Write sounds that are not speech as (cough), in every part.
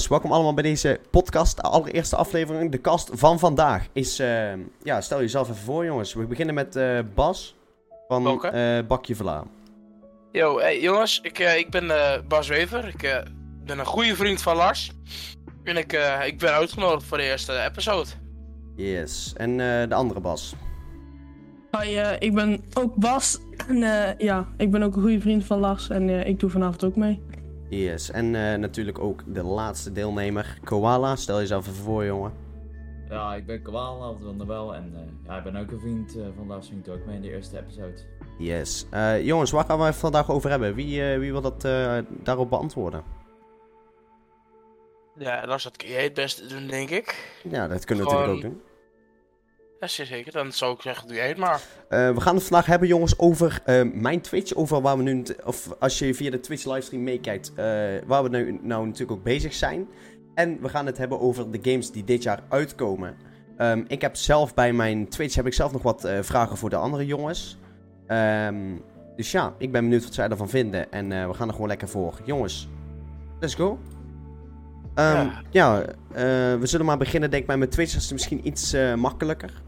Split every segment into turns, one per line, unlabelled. Dus welkom allemaal bij deze podcast, de allereerste aflevering, de kast van vandaag. Is, eh, ja, stel jezelf even voor jongens. We beginnen met eh, Bas van
Oké.
eh, Bakje Vla.
Yo, hey, jongens, ik, eh, ik ben eh, Bas Wever. Ik eh, ben een goede vriend van Lars. En ik, eh, ik ben uitgenodigd voor de eerste episode.
Yes. En eh, de andere Bas.
Hi, eh, ik ben ook Bas. En eh, ja, ik ben ook een goede vriend van Lars. En eh, ik doe vanavond ook mee.
Yes. En eh, natuurlijk ook de laatste deelnemer, Koala. Stel jezelf even voor jongen.
Ja, ik ben Kwala van der Wel en eh, ja, ik ben ook een vriend eh, van Lars Vinkt ook mee in de eerste episode.
Yes. Eh, jongens, waar gaan we het vandaag over hebben? Wie, eh, wie wil dat eh, daarop beantwoorden?
Ja, Lars, dat kun jij het beste doen, denk ik.
Ja, dat kunnen we
Gewoon-
natuurlijk ook doen.
Ja, zeer zeker. Dan zou ik zeggen, doe jij het maar.
Eh, we gaan het vandaag hebben, jongens, over eh, mijn Twitch. Over waar we nu, of als je via de Twitch livestream meekijkt, eh, waar we nu, nou natuurlijk ook bezig zijn. En we gaan het hebben over de games die dit jaar uitkomen. Ehm, ik heb zelf bij mijn Twitch heb ik zelf nog wat eh, vragen voor de andere jongens. Ehm, dus ja, ik ben benieuwd wat zij ervan vinden. En eh, we gaan er gewoon lekker voor. Jongens, let's go. Ehm,
Ja.
ja, eh, we zullen maar beginnen, denk ik, bij mijn Twitch. Dat is misschien iets eh, makkelijker.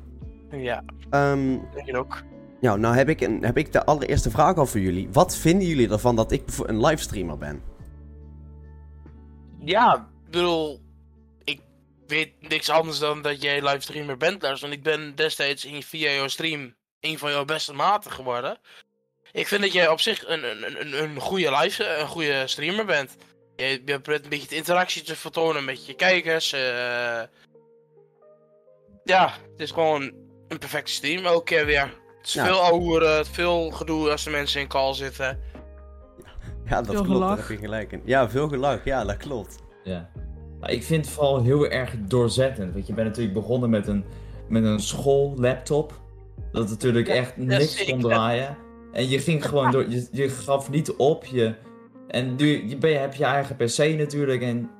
Ja,
Ehm
denk ik ook.
nou, nou heb ik, een, heb ik de allereerste vraag al voor jullie. Wat vinden jullie ervan dat ik bevo- een livestreamer ben?
Ja, ik bedoel, ik weet niks anders dan dat jij livestreamer bent, Lars. Want ik ben destijds in, via jouw stream een van jouw beste maten geworden. Ik vind dat jij op zich een, een, een- een, een, goede, live, een goede streamer bent. Je, je probeert een beetje de interactie te vertonen met je kijkers. eh. Ja, het is gewoon een perfecte stream elke keer weer. Het is
Ja.
veel ouder, veel gedoe als de mensen in call zitten.
Ja, dat
Veel
klopt.
gelach.
Daar heb je gelijk in. Ja, veel gelach. Ja, dat klopt.
Ja. Maar Nou, ik vind het vooral heel erg doorzettend. Want je bent natuurlijk begonnen met een, met een schoollaptop. Dat natuurlijk
Ja,
echt
ja,
niks
zeker.
kon draaien. En je ging gewoon door, je, je gaf niet op. Je, en nu je, ben, je hebt je eigen PC natuurlijk en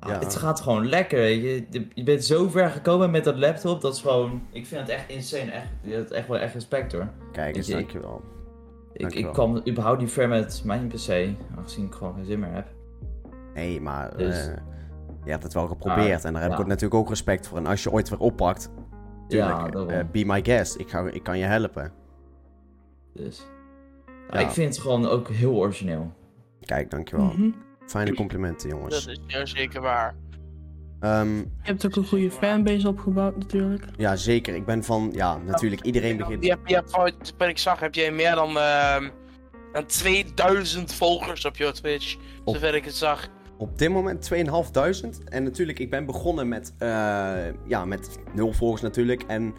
ah,
Ja.
het gaat gewoon lekker. weet Je, je, je bent zo ver gekomen met dat laptop, dat is gewoon... Ik vind het echt insane, echt, je hebt echt wel echt respect hoor.
Kijk eens,
Ik- ik-
dankjewel.
Ik,
Dankjewel.
ik kwam überhaupt niet ver met mijn PC, aangezien ik gewoon geen zin meer heb.
Nee, maar
Dus- Ah,
eh, je hebt het wel geprobeerd. en daar heb
ja.
ik natuurlijk ook respect voor. En als je ooit weer oppakt,
ja,
tuurlijk,
daarom.
eh, be my guest. Ik, ga, ik kan je helpen.
Dus.
Ja.
Ik vind het gewoon ook heel origineel.
Kijk, dankjewel.
Mhm.
Fijne complimenten,
Dat
jongens.
is zeer zeker waar.
Ehm,
Je hebt ook een goede fanbase opgebouwd natuurlijk.
ja, zeker. Ik ben van... Ja, natuurlijk. Iedereen begint...
Je hebt, je hebt ooit, toen ik zag, heb jij meer dan, ehm, dan 2000 volgers op jouw Twitch.
Op-
Zover ik het zag.
Op dit moment 2.500. En natuurlijk, ik ben begonnen met, eh, ja, met nul volgers natuurlijk. En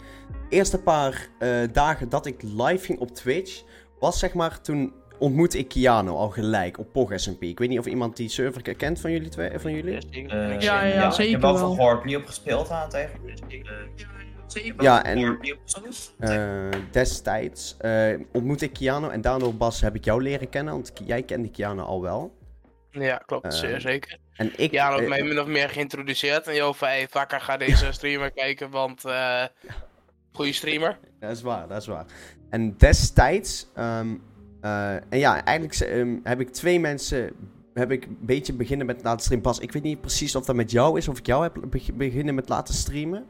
de eerste paar eh, dagen dat ik live ging op Twitch, was zeg maar toen ontmoette ik Kiano al gelijk op Pog SMP. Ik weet niet of iemand die server ke- kent van jullie twee, eh, van jullie?
Eh,
zeker.
ja, ja, ja, zeker
Ik heb wel
wel.
van Gorpie op gespeeld aan tegen.
Ja, en- Eh, destijds eh, ontmoette ik Kiano en daardoor Bas heb ik jou leren kennen, want ki- jij kende Kiano al wel.
Ja, klopt,
Ehm,
zeer zeker.
En ik,
Ja, dat
eh,
heeft mij min of meer geïntroduceerd. En joh, van hey, vakker ga deze streamer kijken, want eh goede streamer.
Dat is waar, dat is waar. En destijds, ehm, eh, en ja, eigenlijk ze- ehm, heb ik twee mensen, heb ik een beetje beginnen met laten streamen. Pas, ik weet niet precies of dat met jou is, of ik jou heb beg- beginnen met laten streamen.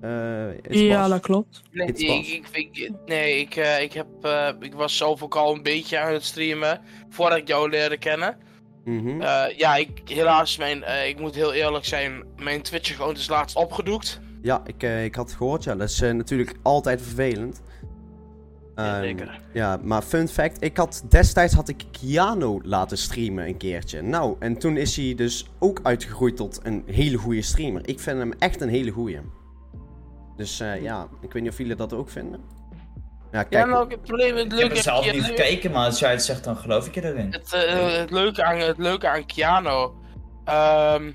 Eh, is
Ja,
Bas.
dat klopt.
Nee,
Dit
ik,
is Bas.
ik, ik- nee, ik, eh, ik, heb, eh, ik was zelf ook al een beetje aan het streamen voordat ik jou leerde kennen.
Mhm.
Eh, ja, ik, helaas, mijn, eh, ik moet heel eerlijk zijn, mijn Twitch-account is laatst opgedoekt.
Ja, ik, eh, ik had het gehoord, ja. Dat is eh, natuurlijk altijd vervelend.
Ja,
Ehm,
zeker.
Ja, maar fun fact, ik had destijds had ik Keanu laten streamen een keertje. Nou, en toen is hij dus ook uitgegroeid tot een hele goede streamer. Ik vind hem echt een hele goeie. Dus eh, ja, ik weet niet of jullie dat ook vinden. Ja, kijk.
ja, maar ook het probleem, het
Ik heb
leuke,
er zelf
het,
niet
leuke-
gekeken, maar als jij het zegt, dan geloof ik je erin.
het, eh, het leuke aan, het leuke aan Keanu. ehm,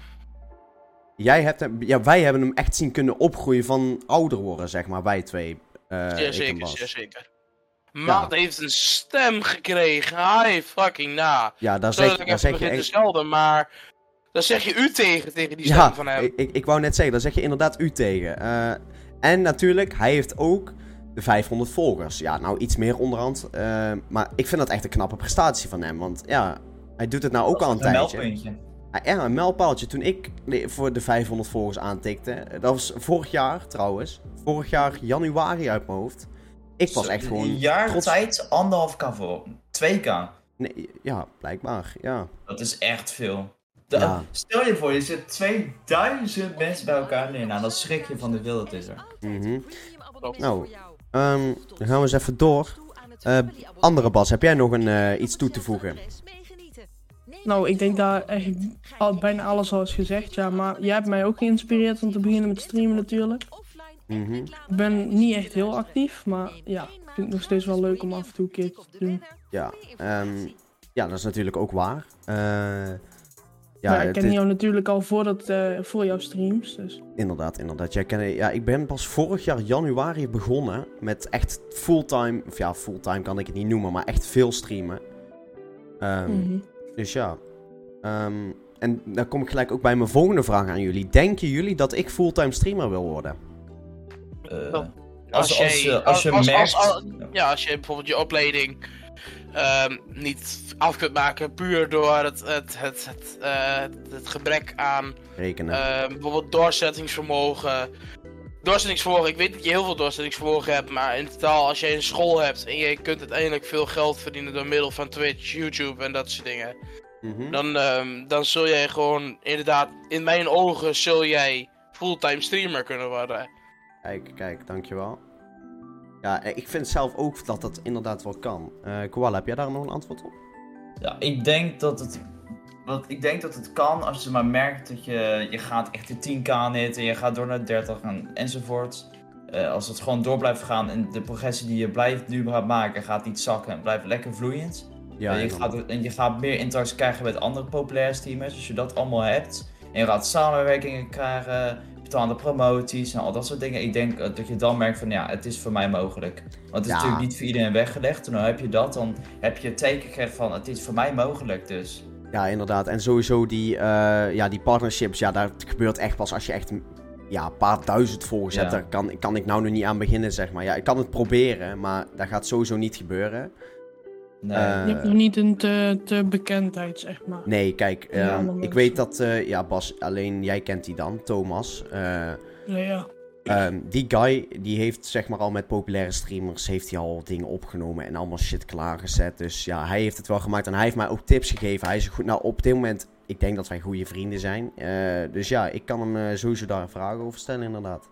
Jij hebt hem, ja, wij hebben hem echt zien kunnen opgroeien van ouder worden, zeg maar, wij twee. eh, ik
zeer
en
zeker,
Bas.
zeer zeker. Maat heeft een stem gekregen. Hi, fucking na.
Ja, daar
Sorry
zeg,
dat ik
daar
even
zeg je
begin te
echt...
schelden, maar... Dan zeg je u tegen, tegen die stem
Ja,
van hem.
ik, ik, ik wou net zeggen, daar zeg je inderdaad u tegen. Eh, en natuurlijk, hij heeft ook de 500 volgers. Ja, nou iets meer onderhand. eh, maar ik vind dat echt een knappe prestatie van hem. Want ja, hij doet het nou ook al een
Een
tijdje. Ah,
meldpuntje.
Ja, een mijlpaaltje. Toen ik voor de 500 volgers aantikte, eh, dat was vorig jaar trouwens. Vorig jaar januari uit mijn hoofd. Ik was echt gewoon...
Een
jaar
trots.
tijd anderhalf k voor 2k.
Nee, ja, blijkbaar. Ja.
Dat is echt veel.
Ja.
Da- Stel je voor, je zit 2000 mensen bij elkaar neer. Nou, dan schrik je van de wil dat is er.
Mhm.
Nou,
Ehm, dan gaan we eens even door. Eh, andere Bas, heb jij nog een, eh, iets toe te voegen?
Nou, ik denk daar eigenlijk al, bijna alles al is gezegd, ja. Maar jij hebt mij ook geïnspireerd om te beginnen met streamen natuurlijk.
Mhm.
Ik ben niet echt heel actief, maar ja, ik vind het nog steeds wel leuk om af en toe een keertje te doen.
Ja, ehm, ja, dat is natuurlijk ook waar. Eh,
Ja,
ja,
ik
het
ken
is- Eh.
jou natuurlijk al voordat, eh, voor jouw streams, dus...
inderdaad, inderdaad. Jij ken, ja, ik ben pas vorig jaar januari begonnen met echt fulltime, of ja, fulltime kan ik het niet noemen, maar echt veel streamen. Ehm,
mhm.
Dus ja. Ehm, en dan kom ik gelijk ook bij mijn volgende vraag aan jullie. Denken jullie dat ik fulltime streamer wil worden?
Eh,
Dat-
als,
jij-
als,
eh,
je- als je
als- als-
merkt...
als- Ja, als je bijvoorbeeld je opleiding ehm, niet af kunt maken puur door het, het, het, het, eh, het gebrek aan
Rekenen.
ehm, bijvoorbeeld doorzettingsvermogen. Doorzettingsvermogen, ik weet dat je heel veel doorzettingsvermogen hebt, maar in totaal als je een school hebt en je kunt uiteindelijk veel geld verdienen door middel van Twitch, YouTube en dat soort dingen,
Mhm.
dan, ehm, dan zul jij gewoon inderdaad, in mijn ogen zul jij fulltime streamer kunnen worden.
Kijk, kijk, dankjewel. Ja, eh, ik vind zelf ook dat dat inderdaad wel kan. Eh Koala, heb jij daar nog een antwoord op?
Ja, ik-
Ik denk dat het. Want ik denk dat het kan als je maar merkt dat je, je gaat echt de 10k net en je gaat door naar 30 en, enzovoort. Eh, als het gewoon door blijft gaan en de progressie die je blijft nu gaat maken gaat niet zakken en blijft lekker vloeiend.
Ja,
en, je
inderdaad.
gaat, en je gaat meer interactie krijgen met andere populaire streamers als je dat allemaal hebt. En je gaat samenwerkingen krijgen, betaalde promoties en al dat soort dingen. Ik denk eh, dat je dan merkt van ja, het is voor mij mogelijk. Want het is
Ja.
natuurlijk niet voor iedereen weggelegd. En dan heb je dat, dan heb je het teken gekregen van het is voor mij mogelijk dus.
ja, inderdaad. En sowieso die, eh, ja, die partnerships, ja, dat gebeurt echt pas als je echt ja, een paar duizend volgers
Ja.
hebt. Daar kan, kan ik nou nog niet aan beginnen, zeg maar. Ja, ik kan het proberen, maar dat gaat sowieso niet gebeuren.
Nee.
Eh,
Je hebt nog niet een te, te bekendheid, zeg maar.
Nee, kijk,
Ja,
ehm, ik
maar mensen.
weet dat, eh, ja, Bas, alleen jij kent die dan, Thomas. Eh,
Ja, ja.
ehm, die guy, die heeft zeg maar al met populaire streamers, heeft hij al dingen opgenomen en allemaal shit klaargezet. Dus ja, hij heeft het wel gemaakt en hij heeft mij ook tips gegeven. Hij is goed, nou op dit moment, ik denk dat wij goede vrienden zijn. Eh, dus ja, ik kan hem eh, sowieso daar vragen over stellen, inderdaad.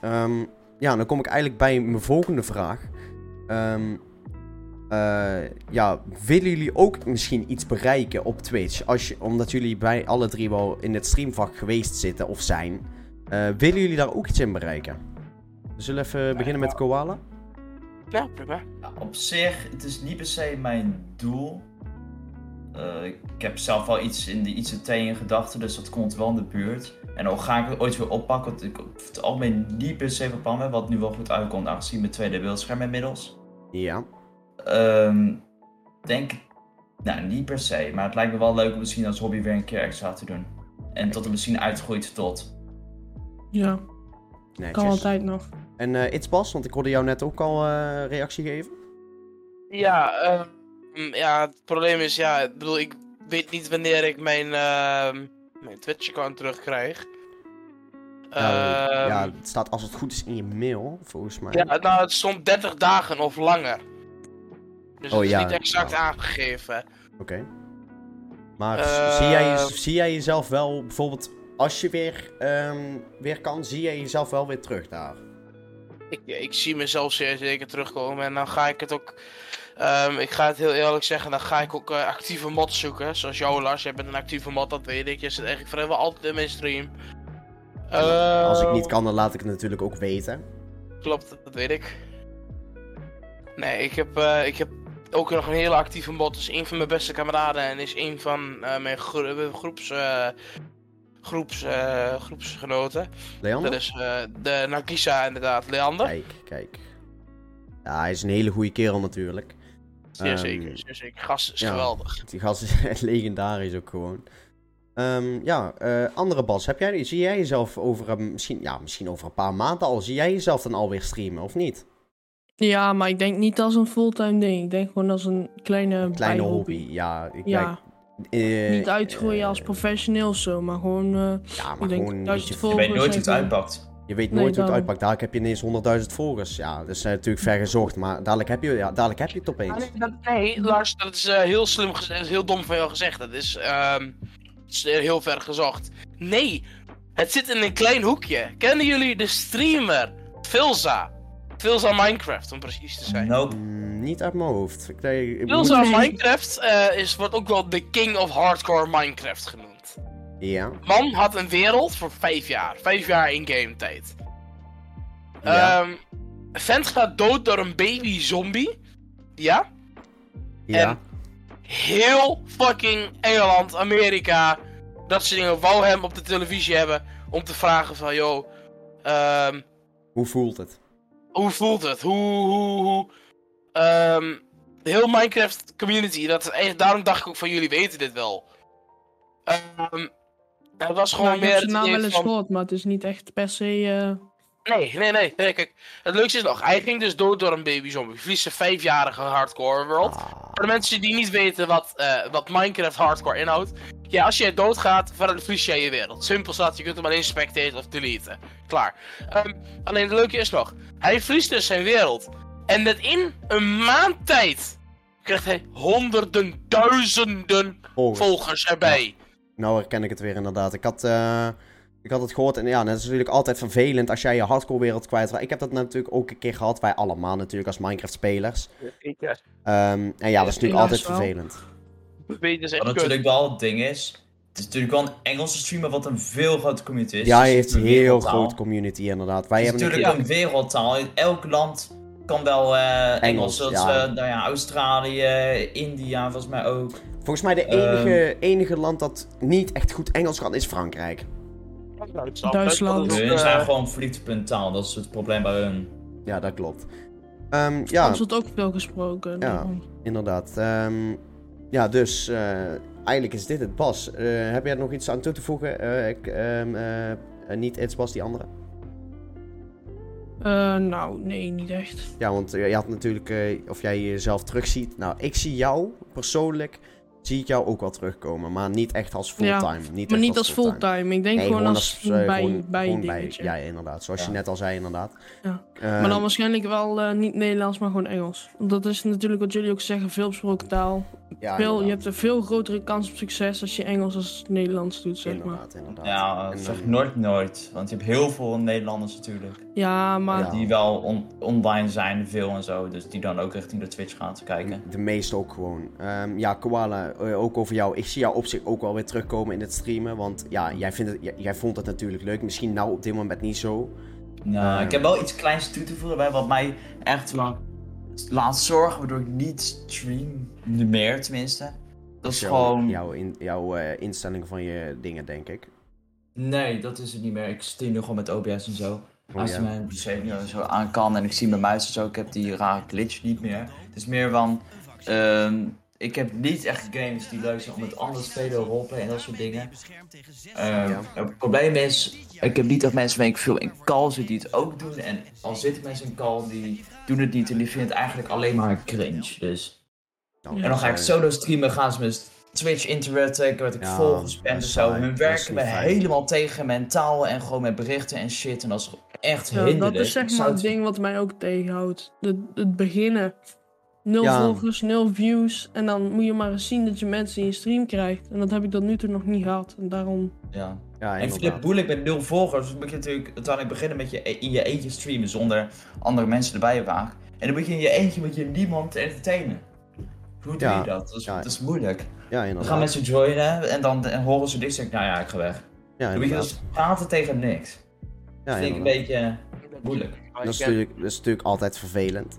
Ehm, ja, dan kom ik eigenlijk bij mijn volgende vraag. Ehm, eh, ja, willen jullie ook misschien iets bereiken op Twitch? Als je, omdat jullie bij alle drie wel in het streamvak geweest zitten of zijn. Eh, willen jullie daar ook iets in bereiken? We zullen even beginnen met Koala.
Ja, prima.
Ja, op zich, het is niet per se mijn doel. Eh, ik heb zelf wel iets in de ICT in gedachten, dus dat komt wel in de buurt. En dan ga ik het ooit weer oppakken, want ik op het algemeen niet per se van plan ben, wat nu wel goed uitkomt aangezien mijn tweede beeldscherm inmiddels.
Ja.
Ehm, denk, nou niet per se, maar het lijkt me wel leuk om misschien als hobby weer een keer extra te doen. En tot het misschien uitgroeit tot.
Ja,
Nee,
kan altijd nog.
En eh It's Bas, want ik hoorde jou net ook al eh, reactie geven.
Ja, ehm, ja, het probleem is, ja, ik bedoel, ik weet niet wanneer ik mijn, ehm mijn Twitch-account terugkrijg.
Nou, Ja,
Ehm,
ja, het staat als het goed is in je mail, volgens mij.
ja, nou, het stond 30 dagen of langer. Dus
Oh,
het is
ja,
niet exact
ja.
aangegeven.
Oké. Maar
Eh,
zie, jij, je- zie jij jezelf wel, bijvoorbeeld als je weer, ehm, weer kan, zie jij jezelf wel weer terug daar?
Ik, ik zie mezelf zeer zeker terugkomen en dan ga ik het ook... ehm, ik ga het heel eerlijk zeggen, dan ga ik ook eh, actieve mods zoeken. Zoals jou, Lars, jij bent een actieve mod, dat weet ik. Je zit eigenlijk vrijwel altijd in mijn stream.
Als ik
Ehm,
niet kan, dan laat ik het natuurlijk ook weten.
Klopt, dat weet ik. Nee, ik heb, eh, ik heb ook nog een hele actieve bot. Is een van mijn beste kameraden en is een van eh, mijn gro- groeps, eh, groeps, eh, groepsgenoten.
Leander?
Dat is eh, de Nagisa inderdaad, Leander.
Kijk, kijk. Ja, hij is een hele goede kerel natuurlijk.
zeer
ehm,
zeker, zeer zeker. Gast is
ja.
geweldig.
Die gast is (laughs) legendarisch ook gewoon. Ehm, ja, eh, andere Bas, heb jij, zie jij jezelf over, een- misschien, ja, misschien over een paar maanden al, zie jij jezelf dan alweer streamen of niet?
Ja, maar ik denk niet als een fulltime ding. Ik denk gewoon als een kleine,
Kleine
bijhobby.
hobby, ja. Ik,
Ja,
kijk, eh,
Niet uitgroeien als professioneel zo, maar gewoon... eh,
Ja, maar
ik denk
gewoon...
dat
je,
je het
Je weet
volgers
nooit hoe het
en-
uitpakt.
je weet nooit
Nee,
hoe het
daarom.
uitpakt. Dadelijk heb je ineens 100.000 volgers. Ja, dat is eh, natuurlijk ver gezocht. Maar dadelijk heb je, ja, dadelijk heb je het
Ah,
opeens.
nee, dat- nee, Lars, dat is eh, heel slim gezegd, heel dom van jou gezegd. Dat is, ehm, dat is heel ver gezocht. Nee, het zit in een klein hoekje. Kennen jullie de streamer Filza? Filza Minecraft, om precies te zijn.
Nope.
Mm, niet uit mijn hoofd. Ik, denk- ik moet-
Filza
Nee.
Minecraft eh, is, wordt ook wel de king of hardcore Minecraft genoemd.
Ja.
Man had een wereld voor vijf jaar. Vijf jaar in game tijd.
Ja.
Ehm, vent gaat dood door een baby zombie. Ja?
ja.
Eh.
en- heel fucking Engeland, Amerika, dat soort dingen, wou hem op de televisie hebben om te vragen van, joh, ehm,
Hoe voelt het?
hoe voelt het? Hoe, hoe, hoe? Ehm, de hele Minecraft community, dat is echt, daarom dacht ik ook van, jullie weten dit wel. Ehm, het was gewoon
nou, ik
meer
heb zijn
het
naam
idee
wel eens
van-
gehoord, maar het is niet echt per se... eh,
Nee, nee, nee, nee, kijk, het leukste is nog, hij ging dus dood door een baby zombie. Verliest zijn vijfjarige hardcore world.
Ah,
Voor de mensen die niet weten wat, eh, wat Minecraft hardcore inhoudt. Ja, als jij doodgaat, ver- verlies jij je wereld. Simpel staat, je kunt hem alleen spectaten of deleten. Klaar. Ehm, alleen het leuke is nog, hij verliest dus zijn wereld. En net in een maand tijd krijgt hij honderden, duizenden
volgers.
volgers erbij.
Nou herken ik het weer inderdaad. Ik had, eh, ik had het gehoord en ja, dat is natuurlijk altijd vervelend als jij je hardcore wereld kwijtraakt. Ik heb dat natuurlijk ook een keer gehad, wij allemaal natuurlijk als Minecraft spelers. Ehm, en ja, dat is natuurlijk
Helaas
altijd
wel.
vervelend.
Weet je, dat is echt
Wat
kut.
natuurlijk wel het ding is. Het is natuurlijk wel een Engelse streamer wat een veel grote community is.
Ja,
Dus
hij
het
heeft
is
een
een
heel
wereldtaal.
groot community inderdaad. Wij
Het is
hebben een
natuurlijk een wereldtaal. In elk land kan wel eh, Engels. Dat is,
ja.
eh, nou ja, Australië, India volgens mij ook.
keer- volgens mij de
Ehm.
enige, enige land dat niet echt goed Engels kan is Frankrijk.
Duitsland.
Duitsland.
dat is,
Hun
eh,
zijn gewoon verliefd op hun taal. Dat is het probleem bij hun.
Ja, dat klopt. Ehm, ja,
Ons wordt ook veel gesproken.
Ja.
daarom.
inderdaad. Ehm, ja, dus eh, eigenlijk is dit het. Bas, eh, heb jij er nog iets aan toe te voegen? Eh, ik, ehm, eh, eh, niet It's Bas, die andere.
Eh, nou, nee, niet echt.
Ja, want eh, je had natuurlijk eh, of jij jezelf terugziet. Nou, ik zie jou persoonlijk, zie ik jou ook wel terugkomen, maar niet echt als fulltime.
Ja,
niet
maar
echt
niet als fulltime. Ik denk
Nee,
gewoon als,
eh,
bij,
gewoon-
bij
gewoon
dingetje.
Ja, inderdaad. Zoals je
Ja.
net al zei, inderdaad.
Ja.
Eh,
Maar dan waarschijnlijk wel eh, niet Nederlands, maar gewoon Engels. Want dat is natuurlijk wat jullie ook zeggen, veel besproken taal.
ja,
Veel, je
inderdaad.
hebt een veel grotere kans op succes als je Engels als Nederlands doet, zeg maar.
Inderdaad, inderdaad.
Ja, dat
En,
zeg
eh,
nooit nooit. Want je hebt heel veel Nederlanders natuurlijk.
Ja, maar
Ja.
Die wel on- online zijn, veel en zo. Dus die dan ook richting de Twitch gaan te kijken.
De meeste ook gewoon. Ehm, ja, Koala, eh, ook over jou. Ik zie jou op zich ook wel weer terugkomen in het streamen. Want ja, jij, vindt het, jij, jij vond het natuurlijk leuk. Misschien nou op dit moment niet zo.
Nou,
Eh.
ik heb wel iets kleins toe te voegen bij wat mij echt lang laat zorgen, waardoor ik niet stream. Nu meer tenminste. Dat is
Jouw-
gewoon.
Jouw, in, jouw eh, instelling van je dingen, denk ik.
Nee, dat is het niet meer. Ik stream nu gewoon met OBS en zo.
Oh,
Als
ja.
je mijn PC nu zo aan kan en ik zie mijn muis en zo, ik heb die rare glitch niet meer. Het is meer van. ehm, ik heb niet echt games die leuk zijn om met anderen te spelen, roleplay en dat soort dingen. Ehm, Het probleem is, ik heb niet echt mensen waar ik veel in call zit die het ook doen. En al zitten mensen in call, die doen het niet en die vinden het eigenlijk alleen maar cringe. Dus.
Nou,
En
En dan ga ik
eh,
solo streamen, gaan ze met Twitch interacten, word ik
Ja,
volgens ben
dat
en
is
zo.
saai.
Hun
Dat is
werken
niet
me
fijn.
helemaal tegen mentaal en gewoon met berichten en shit. En dat is echt
Ja,
hinderlijk.
dat is
Ik
zeg
zou
maar het
het-
ding wat mij ook tegenhoudt. Het, het beginnen. Nul
Ja.
volgers, nul views. En dan moet je maar eens zien dat je mensen in je stream krijgt. En dat heb ik tot nu toe nog niet gehad. En daarom...
Ja.
Ja,
En ik vind het
inderdaad.
moeilijk met nul volgers. Dus moet je natuurlijk uiteindelijk beginnen met je e- in je eentje streamen zonder andere mensen erbij te wagen. En dan moet je in je eentje met je niemand te entertainen. Hoe doe
Ja.
je dat? Dat is,
Ja.
dat is moeilijk.
Ja,
Dan
inderdaad.
gaan mensen joinen en dan en horen ze dit zeg ik, nou ja, ik ga weg.
Ja,
Dan moet je
inderdaad.
dus praten tegen niks.
Ja,
dat vind ik een
inderdaad.
beetje moeilijk.
Dat is natuurlijk, dat is natuurlijk altijd vervelend.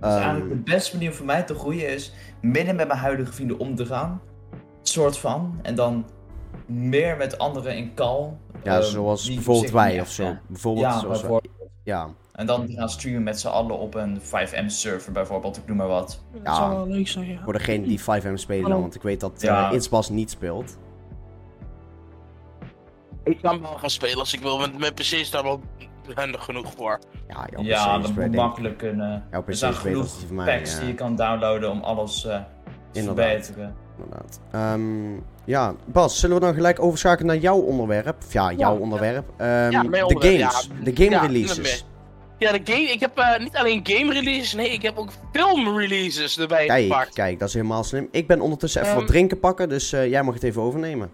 Dus
Ehm,
eigenlijk de beste manier voor mij te groeien is minder met mijn huidige vrienden om te gaan. Soort van. En dan meer met anderen in kal.
ja,
ehm,
zoals
die
bijvoorbeeld
zich niet
wij
echt,
of zo.
eh,
Bijvoorbeeld
Ja,
zoals wij-
bijvoorbeeld.
Ja,
En dan gaan streamen met z'n allen op een 5M server bijvoorbeeld, ik noem maar wat.
Dat zou wel leuk zijn, ja.
voor degene die 5M spelen,
Hallo.
want ik weet dat
Ja.
eh Inspas niet speelt.
Ik kan wel gaan spelen als ik wil, want mijn PC is daar wel handig genoeg voor.
Ja, jouw
ja,
PC
dat
is bij,
moet
denk ik.
makkelijk kunnen.
Jouw PC
Er
is
zijn
beter
genoeg
dan die van mij,
packs
ja.
die je kan downloaden om alles eh, te
Inderdaad.
verbeteren.
Inderdaad. Ehm, ja, Bas, zullen we dan gelijk overschakelen naar jouw onderwerp? Of ja, jouw
Ja.
onderwerp. Ehm,
Ja,
de
mijn onderwerp,
games.
ja.
De game
Ja,
releases.
Ja, de game, ik heb eh, niet alleen game releases, nee, ik heb ook film releases erbij
Kijk,
gepakt.
kijk, dat is helemaal slim. Ik ben ondertussen even
Ehm,
wat drinken pakken, dus eh, jij mag het even overnemen.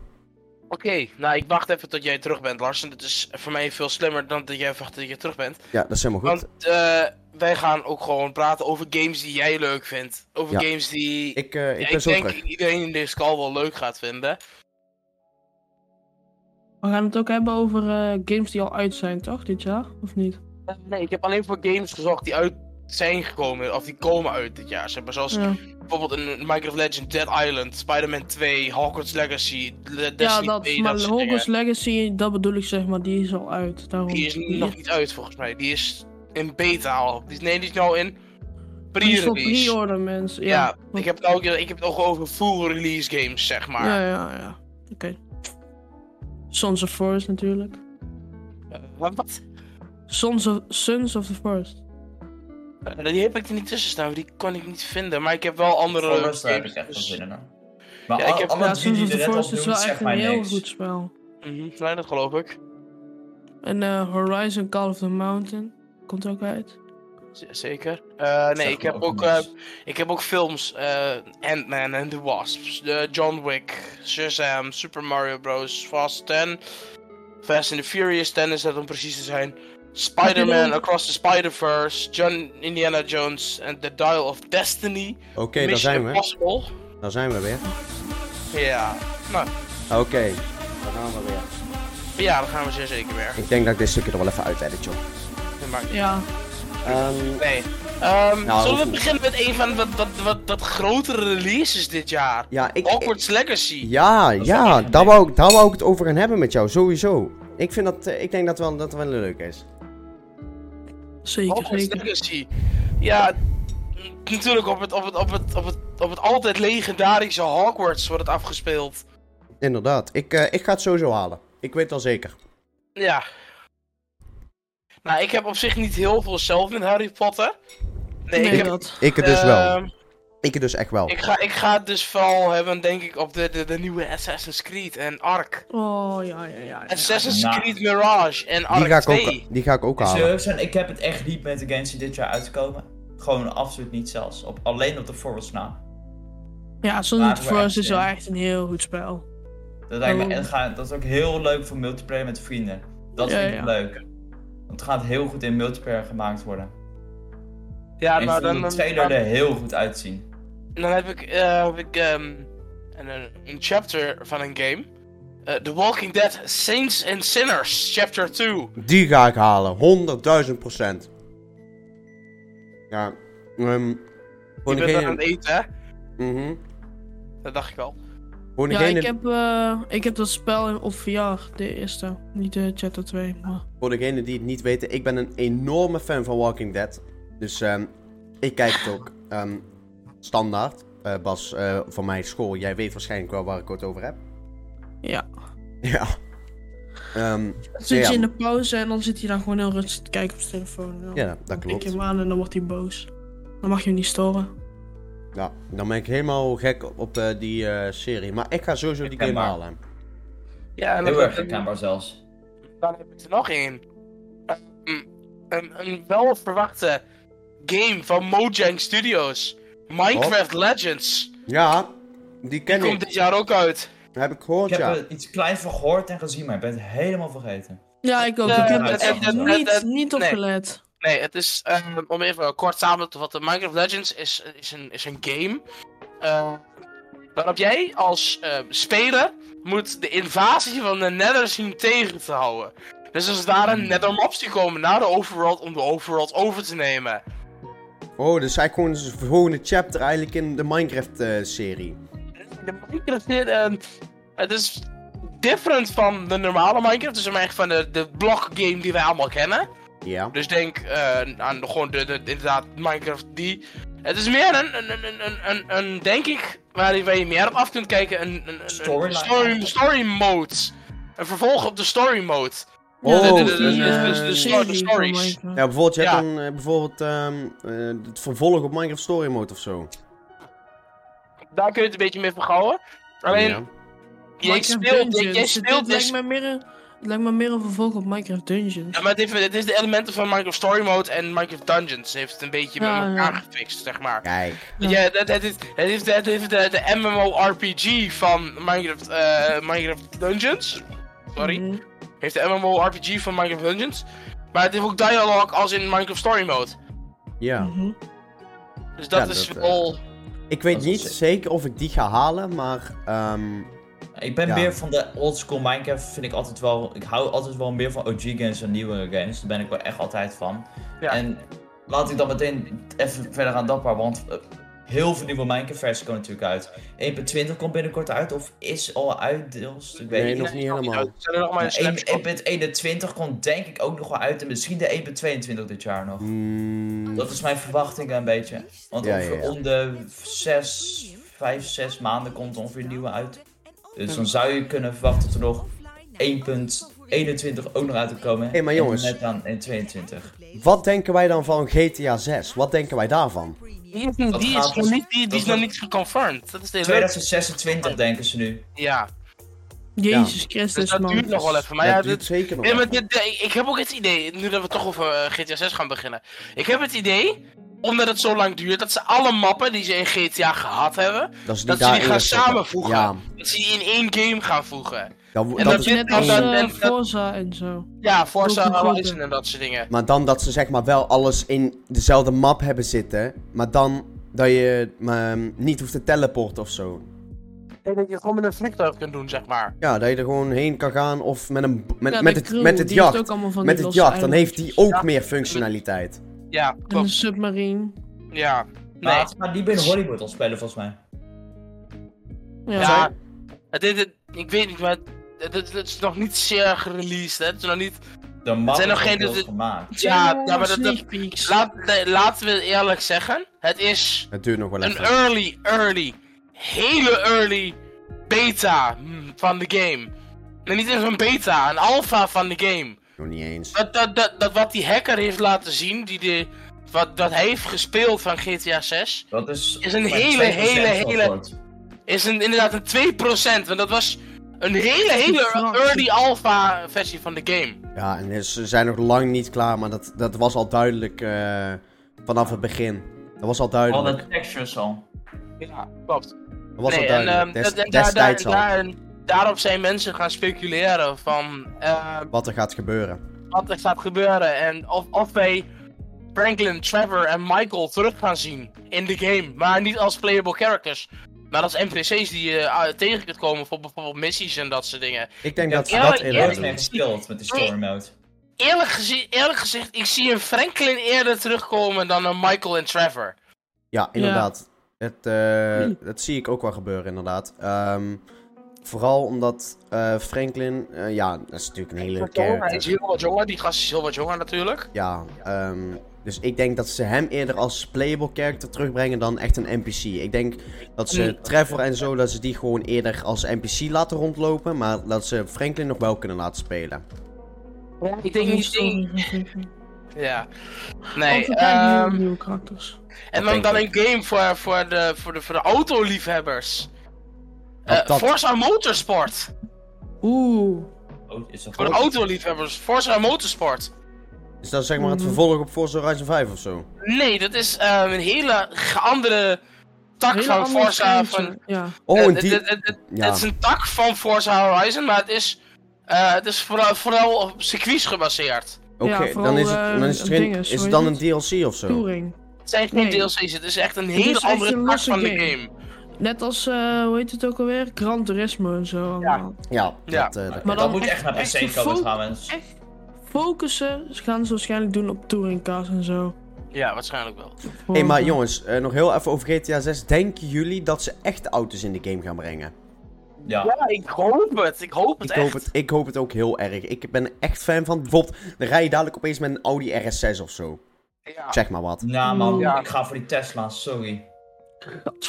Oké, nou ik wacht even tot jij terug bent, Lars. En dat is voor mij veel slimmer dan dat jij wacht tot je terug bent.
Ja, dat is helemaal goed.
Want eh, wij gaan ook gewoon praten over games die jij leuk vindt. Over
Ja.
games die
Ik, eh, ik
ja,
ben zo
denk
terug.
iedereen in deze call wel leuk gaat vinden.
We gaan het ook hebben over eh, games die al uit zijn, toch? Dit jaar? Of niet?
Eh, Nee, ik heb alleen voor games gezocht die uit zijn gekomen, of die komen uit dit jaar. Zeg maar, zoals
Ja,
bijvoorbeeld een Minecraft Legend, Dead Island, Spider-Man 2, Hogwarts Legacy, Le-
ja
Destiny
dat,
2,
maar
dat soort
Hogwarts
dingen.
Legacy, dat bedoel ik zeg maar, die is al uit. Daarom.
Die is nog niet uit volgens mij, die is in beta al. Die is, nee, die is nou in
die is voor
pre-release.
pre-order mensen.
ja,
Ja,
ik heb het ook, ik heb het ook over full release games, zeg maar.
Ja, ja, ja. Oké. Sons of Forest natuurlijk.
Eh, wat?
Sons of, Sons of the Forest.
Eh, Die heb ik er niet tussen staan, die kon ik niet vinden. Maar ik heb wel andere
Voor rust daar heb ik
games,
echt wel
dus-
zin in. hoor. Maar
Ja,
al-
ik heb-
alle
ja,
drie
Sons
die
of
je
the
net
Forest
opnoemt,
is wel echt
zegt
een
mij
heel
niks.
goed spel.
Mhm, nee, dat geloof ik.
En eh, Horizon Call of the Mountain komt ook uit.
Z- zeker. Eh, nee,
Zegt
ik
me
heb ook... eh,
niks.
Ik heb ook films, eh Ant-Man and the Wasp, eh, John Wick, Shazam, Super Mario Bros, Fast 10, Fast and the Furious 10 is dat om precies te zijn,
Heb je
Spider-Man
nog-
Across the Spider-Verse, John Indiana Jones and the Dial of Destiny,
Oké, daar zijn we.
Impossible.
Daar zijn we weer.
Ja, nou,
Oké, daar gaan we weer.
ja, dan gaan we zeer zeker weer.
Ik denk dat ik dit stukje er wel even uit edit, joh.
Dat maakt niet-
Ja,
Ehm,
Nee. Ehm,
Nou,
zullen we
goed.
beginnen met een van wat, wat, wat, wat grotere releases dit jaar?
ja, ik,
Hogwarts Legacy.
Ja,
is
ja,
echt een
daar
ding.
wou, ik- daar wou ik het over gaan hebben met jou, sowieso. Ik, vind dat, eh, ik denk dat wel, dat wel leuk is.
zeker,
Hogwarts
zeker.
Legacy. Ja, n- natuurlijk op het, op, het, op, het, op, het, op het altijd legendarische Hogwarts wordt het afgespeeld.
Inderdaad, ik, eh, ik ga het sowieso halen. Ik weet het al zeker.
Ja. Nou, ik heb op zich niet heel veel zelf met Harry Potter. Nee, ik heb...
dat.
Ik het dus wel.
ehm,
Ik het dus echt wel.
ik, ga, ik ga het dus vooral hebben, denk ik, op de, de, de nieuwe Assassin's Creed en Ark.
Oh, ja, ja, ja. ja.
Assassin's
Nou.
Creed Mirage en
Die ga,
Ark
ik ook,
2.
die ga ik ook
Ik zal
halen.
eerlijk zijn, ik heb het echt niet met de games die dit jaar uitkomen. Gewoon absoluut niet zelfs. Op, alleen op de forwards na.
Ja, Sons of
Laten
the
we
Forest
echt
is wel
in.
echt een heel goed spel.
Dat, lijkt me,
Oh.
en ga, dat is ook heel leuk voor multiplayer met vrienden. Dat
Ja,
vind ik
ja.
leuk. Want het gaat heel goed in multiplayer gemaakt worden.
Ja,
en ik
nou
vind
dan...
de
dan-
trailer er heel goed uitzien.
En dan heb ik, eh, heb ik ehm, een, een- een chapter van een game. Eh, The Walking Dead Saints and Sinners, chapter 2.
Die ga ik halen, 100.000 procent. Ja, ehm voor
Ik ben dat aan het
degene...
eten, hè?
Mhm.
Dat dacht ik al.
Voor
Ja,
degene-
ik heb, eh, ik heb dat spel in- op VR, de eerste. Niet de chapter 2, maar...
Voor degenen die het niet weten, ik ben een enorme fan van Walking Dead. Dus ehm, ik kijk het ook ehm, standaard. Eh, Bas, eh, van mijn school, jij weet waarschijnlijk wel waar ik het over heb.
Ja.
Ja. Ehm,
Dan zit
Ja.
je in de pauze en dan zit hij dan gewoon heel rustig te kijken op zijn telefoon. Dan
ja, dat
kijk
klopt.
je hem aan en dan wordt hij boos. Dan mag je hem niet storen.
Ja, dan ben ik helemaal gek op, op, eh, die eh, serie. Maar ik ga sowieso die game
Herkenbaar.
halen.
Ja, en dan,
Heel erg
dan,
herkenbaar zelfs.
dan heb ik er nog één. Ehm, een, een welverwachte game van Mojang Studios. Minecraft Legends.
Ja, die
Die
ken
komt
ik.
dit jaar ook uit.
Heb ik gehoord,
Ik heb
ja.
er iets kleins van gehoord en gezien, maar ik ben het helemaal vergeten.
Ja, ik ook.
Eh,
ik heb
dat-
er
dat-
echt
dat-
dat-
niet, niet op
nee.
gelet.
Nee, het is, ehm, om even kort samen te vatten, Minecraft Legends is, is, een, is een game eh, waarop jij als ehm, speler moet de invasie van de Nether zien tegen te houden. Dus als daar een Nether mobs die komen naar de overworld om de overworld over te nemen.
Oh, dus eigenlijk gewoon het volgende chapter eigenlijk in de Minecraft-serie.
De Minecraft dit, ehm, het is different van de normale Minecraft, dus echt van de, de blok game die wij allemaal kennen.
ja.
Dus denk eh, aan de- gewoon de, de, inderdaad Minecraft die. Het is meer een, een, een, een, een, een, een, denk ik, waar je, waar je meer op af kunt kijken, een, een, een- een
Storyline.
story, story mode. Een vervolg op de story mode.
Oh,
de, de, de,
dus,
de,
eh,
de- de- de- de-
serie
de
van
stories.
Minecraft.
Ja, bijvoorbeeld, je hebt
Ja.
dan eh, bijvoorbeeld ehm, eh, het vervolg op Minecraft Story Mode of zo.
daar kun je het een beetje mee vergouwen.
Ja.
Alleen, jij
Minecraft
speelt, jij,
Dungeons.
jij
Dit
speelt
lijkt
dus...
mij meer een, het lijkt me meer een vervolg op Minecraft Dungeons.
Ja, maar het, heeft, het is de elementen van Minecraft Story Mode en Minecraft Dungeons heeft het een beetje
Ja,
met
ja.
elkaar gefixt, zeg maar.
Kijk.
Ja.
Ja, het, het is, het is, het is de, de MMORPG van Minecraft, eh, Minecraft Dungeons. Sorry.
Nee.
Heeft de MMORPG van Minecraft Dungeons. Maar het heeft ook dialogue als in Minecraft Story Mode.
Ja.
Mhm.
Dus dat
Ja,
is
dat, eh,
wel...
Ik weet
Dat is wel
niet
sick.
zeker of ik die ga halen, maar... ehm,
Ik ben
Ja.
meer van de oldschool Minecraft, vind ik altijd wel... Ik hou altijd wel meer van OG games en nieuwere games. Daar ben ik wel echt altijd van.
Ja.
En laat ik dan meteen even verder gaan dapper, want eh, heel veel nieuwe Minecraft versies komen natuurlijk uit. 1.20 komt binnenkort uit, of is al uit deels, ik weet
Nee,
niet. Nou,
nog niet helemaal.
Er zijn er nog maar een
Maar
snapshot.
1.21 komt denk ik ook nog wel uit en misschien de 1.22 dit jaar nog.
mm,
Dat is mijn verwachting een beetje. Want
Ja, ja,
ongeveer
ja.
om de 6, 5, 6 maanden komt ongeveer een nieuwe uit. Dus dan zou je kunnen verwachten dat er nog 1.21 ook nog uit te komen.
Hé, maar
En
jongens.
Net aan 1.22.
wat denken wij dan van GTA 6? Wat denken wij daarvan?
Die is, nog-
dat
die
gaat
is nog
dus-
niet, die, die
dat
is nog
gaat-
niet geconfirmed. Dat is de hele-
2026 denken ze nu.
Ja,
Jezus Christus,
dus dat
man.
duurt nog wel even. Maar
dat
ja,
duurt
dit-
zeker nog
Nee, maar
even.
dit, eh, ik heb ook het idee, nu dat we toch over eh, GTA 6 gaan beginnen. Ik heb het idee, omdat het zo lang duurt, dat ze alle mappen die ze in GTA gehad hebben,
Dat, is
dat ze die
daarin
gaan
gestopt.
samenvoegen.
Ja,
Dat ze die in één game gaan voegen.
dan wo-
En
dat
dat
is
je-
Net
één-
als
dan-
eh,
dan-
Forza en zo.
Ja, Forza
Ook een grote.
Horizon en dat soort dingen.
Maar dan dat ze zeg maar wel alles in dezelfde map hebben zitten, maar dan dat je ehm, niet hoeft te teleporten of zo.
Nee, dat je gewoon met een vliegtuig kunt doen, zeg maar.
Ja, dat je er gewoon heen kan gaan of met, een, b- met,
Ja,
met,
de
het,
crew,
met het
die heeft
jacht.
ook allemaal van die
Met het
losse
jacht, dan heeft die
eilandjes.
ook
Ja.
meer functionaliteit.
Ja,
En een
klopt.
submarine.
Ja.
Maar
Nee.
het gaat liever in Hollywood al spelen volgens mij.
Ja.
Ja. Het, het, het- ik weet niet, maar het, het- het is nog niet zeer gereleased, hè. Het is nog niet...
De map
zijn nog
is
geen-
deels
dit-
gemaakt.
Het zijn
Ja,
wel
ja, maar dat-
sneak
dat-
peeks.
Laat, nee, laten we eerlijk zeggen, het is
Het duurt nog wel
een
even.
early, early, hele early beta mm, van de game. Nee, niet eens een beta, een alpha van de game.
Nog niet eens.
Dat, dat, dat, dat wat die hacker heeft laten zien, die de, wat, dat hij heeft gespeeld van GTA 6,
Dat is...
Is een
maar
hele,
2%
hele, hele-
afwoord.
is een, inderdaad een 2%. Want dat was een hele, hele
Frank.
early alpha versie van de game.
Ja, en dus ze zijn nog lang niet klaar, maar dat, dat was al duidelijk eh, vanaf het begin. Dat was al
Al
duidelijk.
de textures al.
Ja, klopt.
Dat was al
Oh, nee, en,
duidelijk.
ehm,
Des-
dat- en daar, daar,
destijds al.
daar, daarop zijn mensen gaan speculeren van... ehm,
Wat er gaat gebeuren.
wat er gaat gebeuren. En of, of wij Franklin, Trevor en Michael terug gaan zien in de game. Maar niet als playable characters. Maar als NPC's die je eh, tegen kunt komen voor bijvoorbeeld missies en dat soort dingen.
Ik denk
Ja,
dat ze
eerlijk-
dat
Er
eerder
wordt
eerlijk-
doen.
mee gespeeld met de story mode.
Eerlijk, gezi- eerlijk gezegd, ik zie een Franklin eerder terugkomen dan een Michael en Trevor.
Ja, inderdaad. Het, eh, dat zie ik ook wel gebeuren, inderdaad. Ehm, vooral omdat eh, Franklin, eh, ja, dat is natuurlijk een hele
Hij is
character.
heel wat jonger, die gast is heel wat jonger natuurlijk.
Ja, ehm, dus ik denk dat ze hem eerder als playable character terugbrengen dan echt een NPC. Ik denk dat ze
Mm.
Trevor en zo, dat ze die gewoon eerder als NPC laten rondlopen, maar dat ze Franklin nog wel kunnen laten spelen.
Ik denk niet...
Sorry,
ik- Ja. Nee,
Altijd eigenlijk
ehm,
nieuwe- nieuwe karakters.
En
Dat
dan, dan een
denk
game voor, voor, de, voor, de, voor de autoliefhebbers.
Dat-
Eh,
dat-
Forza Motorsport.
Oeh.
Oh, is dat
Voor de
goed?
autoliefhebbers, Forza Motorsport.
Is dat zeg maar het
Mhm.
vervolg op Forza Horizon 5 of zo?
Nee, dat is eh, een hele ge- andere tak
Hele
van
andere
Forza.
schijntje.
Van,
Ja.
Oh,
eh,
en
het-
die...
het, het, het-
ja.
het is een tak van Forza Horizon, maar het is, eh, het is vooral, vooral op circuits gebaseerd.
Oké,
Ja,
dan
vooral,
is het,
eh,
dan is het, geen-
dingen,
is
hoe
het
heet
dan een
het?
DLC of zo?
Touring.
Het zijn geen
Nee.
DLC's, het is echt een
is
hele
echt
andere
een
tak
losse
van de
game.
game.
Net als, eh, hoe heet het ook alweer? Gran Turismo en zo. allemaal.
Ja,
Ja.
dat, eh, dat-
Maar
Dat
dan
moet
echt-
echt naar
echt
PC komen
gefocust-
trouwens.
Echt focussen ze gaan ze waarschijnlijk doen op touringcars en zo.
Ja, waarschijnlijk wel.
Hé, hey, maar jongens, eh, nog heel even over GTA 6. Denken jullie dat ze echt auto's in de game gaan brengen?
Ja.
Ja, ik hoop het, ik hoop het
Ik
echt.
hoop het, ik hoop het ook heel erg. Ik ben er echt fan van. Bijvoorbeeld, dan rij je dadelijk opeens met een Audi RS6 of zo.
Ja.
Zeg maar wat.
Nou man,
Ja.
ik ga voor die Tesla, sorry.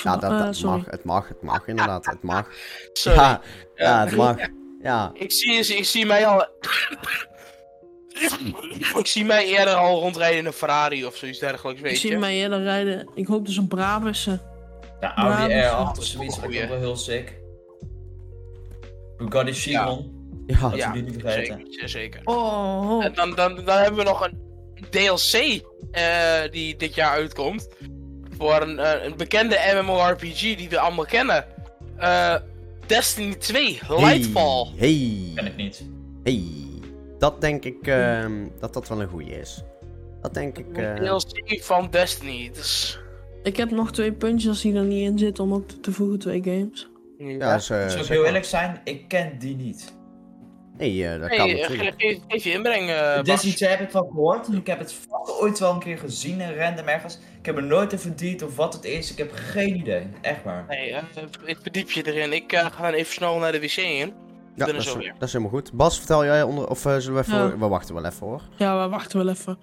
Ja, dat, dat
eh, sorry.
mag. Het mag, het mag inderdaad. Het mag.
Sorry.
Ja, ja, het mag. Ja,
Ik zie, ik zie- ik zie mij al. ik zie mij eerder al rondrijden in een Ferrari of zoiets dergelijks,
Ik
weet
zie
je.
mij eerder rijden. Ik hoop dus een Brabussen.
Ja, Audi
Ja,
R8 of
dat is
zoiets
ook een
vind ik ook
goeie.
wel heel sick. Bugatti Chiron.
Ja.
Ja.
ja.
we die niet vergeten.
zeker, zeker.
Oh, oh.
En dan, dan, dan hebben we nog een DLC eh, die dit jaar uitkomt. Voor een, eh, een bekende MMORPG die we allemaal kennen. Eh, Destiny 2, Lightfall.
Hey.
Ken ik niet.
hey. Dat denk ik ehm, dat dat wel een goeie is. Dat denk ik. eh,
Een DLC van Destiny. Dus- Het is-
Ik heb nog twee puntjes die er niet in zitten om op toe te voegen, twee games.
ja, is, eh,
Zou ik
zeg
heel
maar.
eerlijk zijn, ik ken die niet.
Nee, eh, dat kan
Hey, eh,
natuurlijk.
ge- geef, geef je inbreng, eh,
De
Bas.
Destiny 2 heb ik van gehoord. Ik heb het vast ooit wel een keer gezien in random ergens. Ik heb er nooit in verdiept of wat het is. Ik heb geen idee. Echt waar.
Nee, eh, ik verdiep je erin. Ik eh, ga dan even snel naar de wc in.
Ja,
ben er
dat, is,
zo weer.
dat is helemaal goed. Bas, vertel jij onder. Of eh, zullen we even.
Ja.
We wachten wel even hoor.
Ja, we wachten wel even.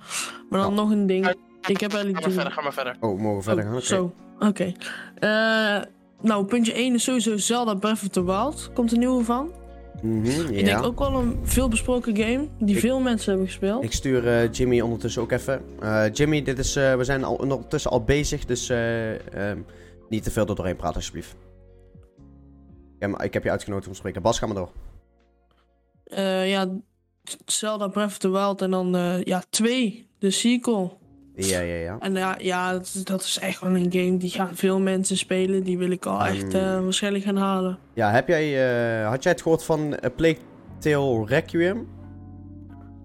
Maar dan nog een ding. Ik heb
Ga
eigenlijk
maar
drie.
verder, ga maar verder.
Oh, we mogen verder
Oh,
gaan. Oké.
Zo, oké. Eh, nou, puntje 1 is sowieso Zelda Breath of the Wild. Komt er nieuwe van.
Mhm,
Ik denk
ja.
ook wel een veelbesproken game die
Ik-
veel mensen hebben gespeeld.
Ik stuur eh, Jimmy ondertussen ook even. Eh, Jimmy, dit is, eh, we zijn al, ondertussen al bezig, dus eh, ehm, niet te veel er doorheen praten, alsjeblieft. Ik heb, ik heb je uitgenodigd om te spreken. Bas, ga maar door.
Eh, ja, Zelda Breath of the Wild en dan eh, ja, 2, de sequel.
Ja, ja, ja.
En ja, ja dat, dat is echt wel een game die gaan veel mensen spelen. Die wil ik al echt eh,
Mm.
waarschijnlijk gaan halen.
Ja, heb jij, eh, had jij het gehoord van eh, Plague Tale Requiem?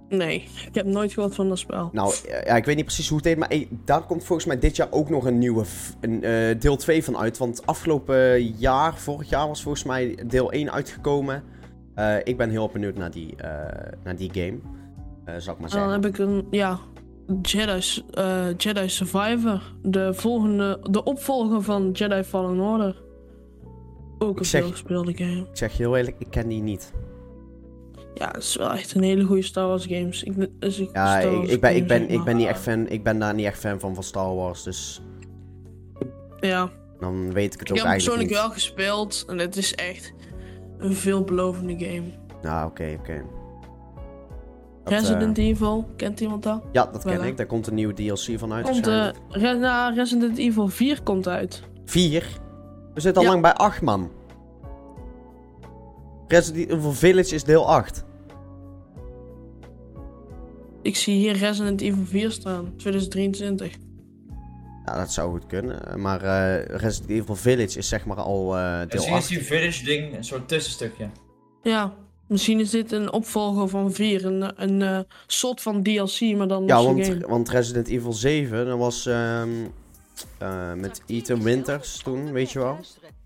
Nee, ik heb nooit gehoord van dat spel.
Nou, eh, ja, ik weet niet precies hoe het heet, maar eh, daar komt volgens mij dit jaar ook nog een nieuwe, f- een, eh, deel 2 van uit. Want afgelopen jaar, vorig jaar was volgens mij deel 1 uitgekomen. Eh, ik ben heel benieuwd naar die, eh, naar die game, Eh zou ik maar
En
zeggen.
dan heb ik een, ja, Jedi, eh, Jedi Survivor. De volgende, de opvolger van Jedi Fallen Order. Ook een
zeg-
veelgespeelde game.
Ik zeg je heel eerlijk, ik ken die niet.
Ja, het is wel echt een hele goede Star Wars games. Ik, is een
Ja,
Star
ik,
Wars
ik, ben, ik,
game,
ben,
zeg
ik,
maar.
ben niet echt fan, ik ben daar niet echt fan van van Star Wars, dus
Ja,
dan weet ik het
ik
ook
heb
eigenlijk
persoonlijk
niet.
wel gespeeld. En het is echt een veelbelovende game.
Nou, oké, oké. Dat,
Resident Evil, kent iemand dat?
eh, ja, dat ken
wel, hè?
ik. Daar komt een nieuwe DLC van uit.
Komt, eh
waarschijnlijk.
Re- na Resident Evil 4 komt uit.
Vier? We zitten al
Ja.
lang bij acht, man. Resident Evil Village is deel 8.
Ik zie hier Resident Evil 4 staan, 2023.
Ja, dat zou goed kunnen. Maar eh, Resident Evil Village is zeg maar al eh, deel
Misschien Dus is
8.
die Village ding een soort tussenstukje.
Ja, misschien is dit een opvolger van 4. Een, een eh, soort van DLC, maar dan
Ja,
als een
want,
game.
want Resident Evil 7, dat was ehm, eh, met Ethan Winters toen, weet je wel.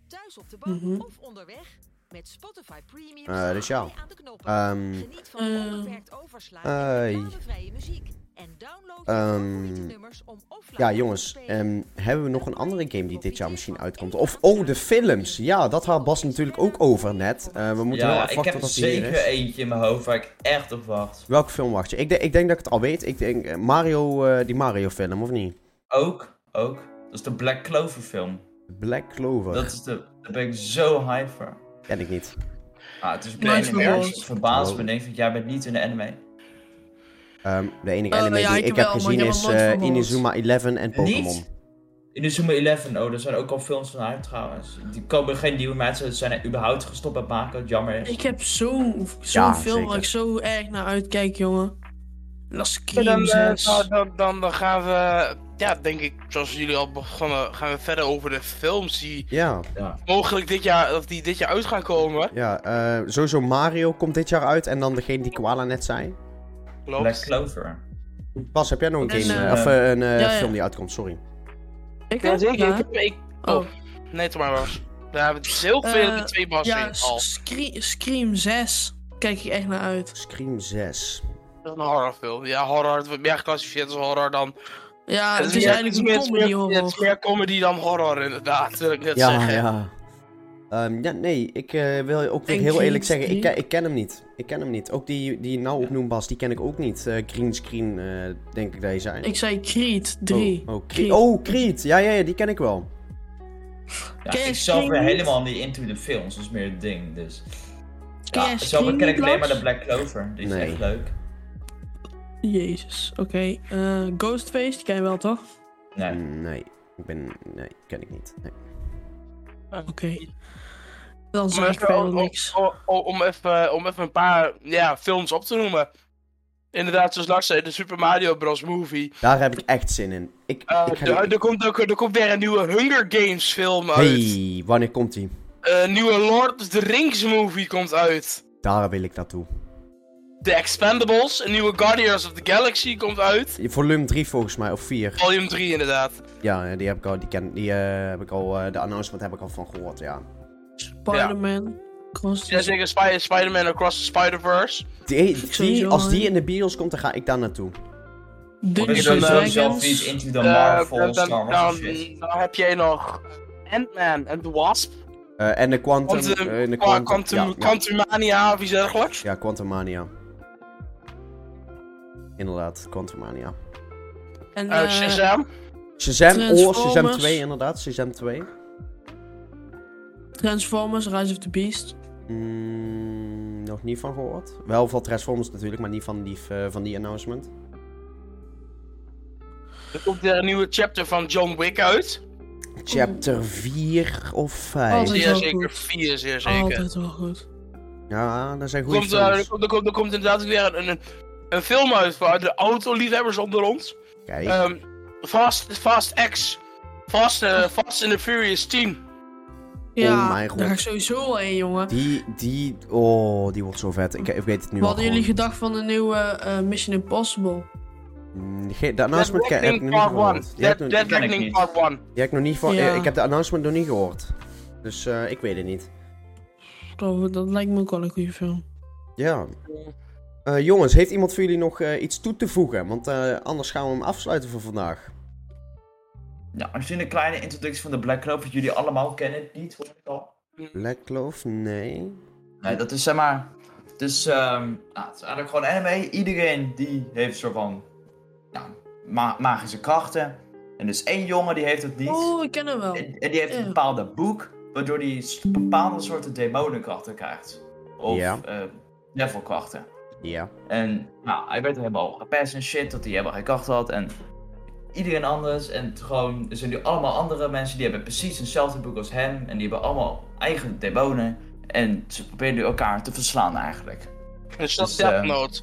Thuis op de bank
Mhm.
of onderweg. Met Spotify Premium
Eh, dus ja.
sta je aan de knoppen.
Ehm, eh,
Geniet van
Eh.
onbeperkt overslaan
Ai.
en reclamevrije muziek. En download je
Ehm,
favoriete nummers om offline
Ja,
te
jongens,
spelen.
ehm, hebben we nog een andere game die dit jaar misschien uitkomt? Of, oh, de films. Ja, dat had Bas natuurlijk ook over net. Eh, we moeten wel
Ja, ik
afwachten
heb
tot die hier
zeker
is.
eentje in mijn hoofd waar ik echt op wacht.
Welke film wacht je? Ik, denk- ik denk dat ik het al weet. Ik denk eh, Mario, eh, die Mario film, of niet?
Ook, ook. Dat is de Black Clover film.
Black Clover.
Dat is de, daar ben ik zo hype voor.
Ken ik niet.
Ah, het is een
Maar het
anime.
verbaast-
Het verbaast
Oh.
me. Ik denk van, jij bent niet in de anime.
Ehm, de enige
Eh,
anime
ja,
die
ik
ik
wel,
heb
maar
gezien
ik heb
is
er nooit
eh,
van gehoord.
Inazuma 11 en Pokémon.
Niet? In de Zoomer 11, oh, er zijn ook al films van uit trouwens. Die komen geen nieuwe mensen, ze zijn er überhaupt gestopt met maken, wat jammer is.
Ik heb zo'n zo
Ja,
film
zeker.
waar ik zo erg naar uitkijk, jongen. En dat is
Ja, Dan,
Scream
eh,
6.
dan, dan, dan, dan gaan we, ja, denk ik, zoals jullie al begonnen, gaan we verder over de films die
Ja,
mogelijk dit jaar, of die dit jaar uit gaan komen.
ja eh, sowieso Mario komt dit jaar uit. En dan degene die Koala net zei.
Klopt.
Black Clover.
Bas, heb jij nog een
En,
game, eh,
eh,
of eh, een eh,
ja, ja.
film die uitkomt? Sorry.
Ik
Ja,
heb-
zeker.
ja.
Ik, ik,
Oh,
nee, toch maar was. Daar hebben we heel veel
Eh,
die twee bassen
ja,
in al.
Scre- Scream 6. Kijk ik echt naar uit.
Scream 6.
Dat is een horrorfilm. Ja, horror. Het wordt meer geclassificeerd als horror dan.
Ja, het is
meer-
eigenlijk een
het is meer-
comedy
Het is
horror.
meer comedy dan horror, inderdaad. Wil ik net
Ja,
zeggen.
ja. Ehm, ja, nee, ik eh, wil je ook weer
En
heel
Green
eerlijk zeggen, ik,
Screen?
ken- ik ken hem niet. Ik ken hem niet. Ook die, die je nou opnoemt, Bas, die ken ik ook niet. Eh, green Screen, eh, denk ik dat je zei.
Ik zei Creed 3.
Oh, oh, Creed. oh, Creed. Ja, ja, ja, die ken ik wel.
Ja,
Ken je
ik zelf ben
Scream niet?
helemaal niet into de films, dat is meer het ding, dus...
Ken
Ja,
jij
zelf ken ik
Scream,
alleen maar de
Blas?
Black Clover, die is
Nee.
echt leuk.
Jezus, oké. Eh, Ghostface, die ken je wel toch?
Mm.
Nee.
Nee, ik ben... Nee, ken ik niet. Nee.
Oké. Dan zeg ik
om,
verder
om-
niks.
om- om- om even, om even een paar ja, films op te noemen. Inderdaad, zoals Lars zei, de Super Mario Bros. Movie.
Daar heb ik echt zin in. Ik,
Eh,
ik ga-
de- er, komt ook, er komt weer een nieuwe Hunger Games film uit.
Hey, wanneer komt die?
Een nieuwe Lord of the Rings movie komt uit.
Daar wil ik naartoe.
The Expendables, een nieuwe Guardians of the Galaxy komt uit.
Volume 3 volgens mij, of 4.
Volume 3 inderdaad.
Ja, die heb ik al, die ken, die, eh, heb ik al, eh, de announcement heb ik al van gehoord, ja.
Spider-Man. Cross-
Ja, zeker Spy- Spider-Man Across the Spider-Verse.
Die, die,
Sowieso,
als die
hè?
in de bios komt, dan ga ik daar naartoe.
Ik ben
Dungeons and
sowieso zelf
Dragons.
niet into the
Eh,
Marvel,
dan,
Star Wars
dan-
of shit.
dan heb jij nog Ant-Man en The Wasp.
Eh, en de Quantum...
Quantum,
eh, en de
qua-
Quantum,
Quantum,
ja, ja,
Quantumania of iets dergelijks.
ja, Quantumania. Inderdaad, Quantumania.
En,
Eh,
eh,
Shazam.
Shazam, oh, Shazam
Transformers.
2 inderdaad, Shazam 2.
Transformers, Rise of the Beast.
Mm, nog niet van gehoord. Wel van Transformers natuurlijk, maar niet van die, eh, van die announcement.
Er komt weer een nieuwe chapter van John Wick uit.
Chapter 4 of 5.
Altijd
Zeer
wel
zeker,
goed.
vier zeer zeker.
Altijd wel goed.
Oh Ja, dat zijn
Er
goede
komt, eh, er,
films.
komt, er, komt, er komt inderdaad weer een, een, een film uit voor de autoliefhebbers onder ons.
Kijk,
Ehm, Fast, Fast X. Fast, eh, Fast and the Furious 10.
Ja,
mijn god.
daar ga ik sowieso wel heen, jongen.
die, die, oh, die wordt zo vet. Ik, ik weet het nu
Wat
al
hadden jullie
gewoon.
gedacht van de nieuwe eh, Mission Impossible?
Mm, ge- De announcement ke- heb ik nog niet
Part 1.
gehoord. Die heb
Dead,
ik nog-
Dead
ken ik
Reckoning
niet.
Part 1.
die heb ik nog niet van.
Ja.
Ik heb de announcement nog niet gehoord. Dus eh, ik weet het niet.
Dat, dat lijkt me ook wel een goede film.
Ja. Eh, jongens, heeft iemand van jullie nog eh, iets toe te voegen? Want eh, anders gaan we hem afsluiten voor vandaag.
Nou, misschien een kleine introductie van de Black Clover. Jullie allemaal kennen het niet, hoor ik al.
Black Clove? Nee.
Nee, dat is zeg maar. Dus, ehm nou, het is eigenlijk gewoon anime. Iedereen die heeft een soort van. Nou, ma- magische krachten. En dus één jongen die heeft het niet.
Oh, ik ken hem wel.
En, en die heeft een
Ja.
bepaalde boek, waardoor hij s- bepaalde soorten demonenkrachten krijgt. Of
Ja.
eh, devilkrachten.
Ja.
En nou, hij werd helemaal gepest en shit, dat hij helemaal geen kracht had. En iedereen anders. En het gewoon, er zijn nu allemaal andere mensen die hebben precies hetzelfde boek als hem. En die hebben allemaal eigen demonen. En ze proberen nu elkaar te verslaan eigenlijk.
Is dat
Dus,
Death
ehm,
Note?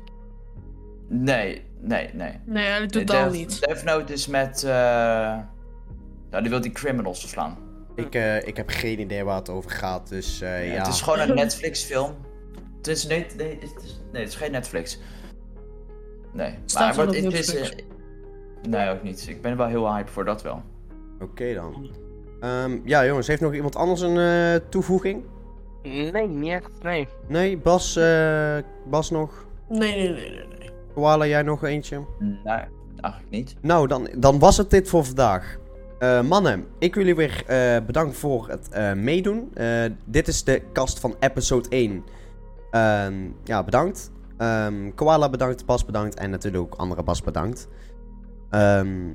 Nee, nee, nee.
Nee, eigenlijk totaal
Death-
niet.
Death Note is met... eh, Nou, die wil die criminals verslaan.
Ik, eh, ik heb geen idee waar het over gaat. Dus eh,
Ja,
ja.
Het is gewoon een Netflix-film. Het is, nee, nee, het is, nee, het is geen Netflix. Nee,
Staat
maar
wel
het,
op
het is.
Netflix.
eh, nee, ook niet. Ik ben er wel heel hype voor dat wel.
Oké dan. Ehm, ja, jongens, heeft nog iemand anders een eh, toevoeging?
Nee, niet echt. Nee.
Nee, Bas, eh, Bas nog.
Nee, nee, nee, nee. nee.
Koala, jij nog eentje?
Nee, eigenlijk niet.
Nou, dan, dan was het dit voor vandaag. Eh, mannen, ik wil jullie weer eh bedanken voor het eh, meedoen. Eh, dit is de kast van episode 1. Ehm, ja, bedankt. Ehm, Koala bedankt, Bas bedankt en natuurlijk ook andere Bas bedankt. Ehm,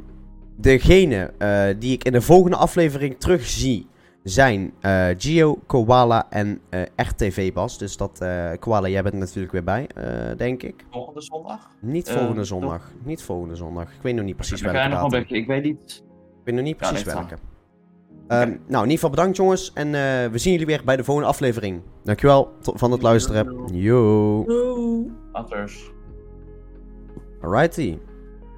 degene eh, die ik in de volgende aflevering terugzie zijn eh, Gio, Koala en eh, RTV Bas. Dus dat, eh, Koala, jij bent er natuurlijk weer bij, eh, denk ik.
Volgende zondag?
Niet
Eh,
volgende
toch? Dus
zondag. Niet volgende zondag. Ik weet nog niet precies
We
welke
gaan nog een
datum.
beetje. Ik weet niet.
Ik weet nog niet
Ja,
precies
ligt
welke. Ehm, Nou, in ieder geval bedankt jongens. En eh, we zien jullie weer bij de volgende aflevering. Dankjewel to- van het luisteren. Yo.
Doei.
Anders.
Alrighty.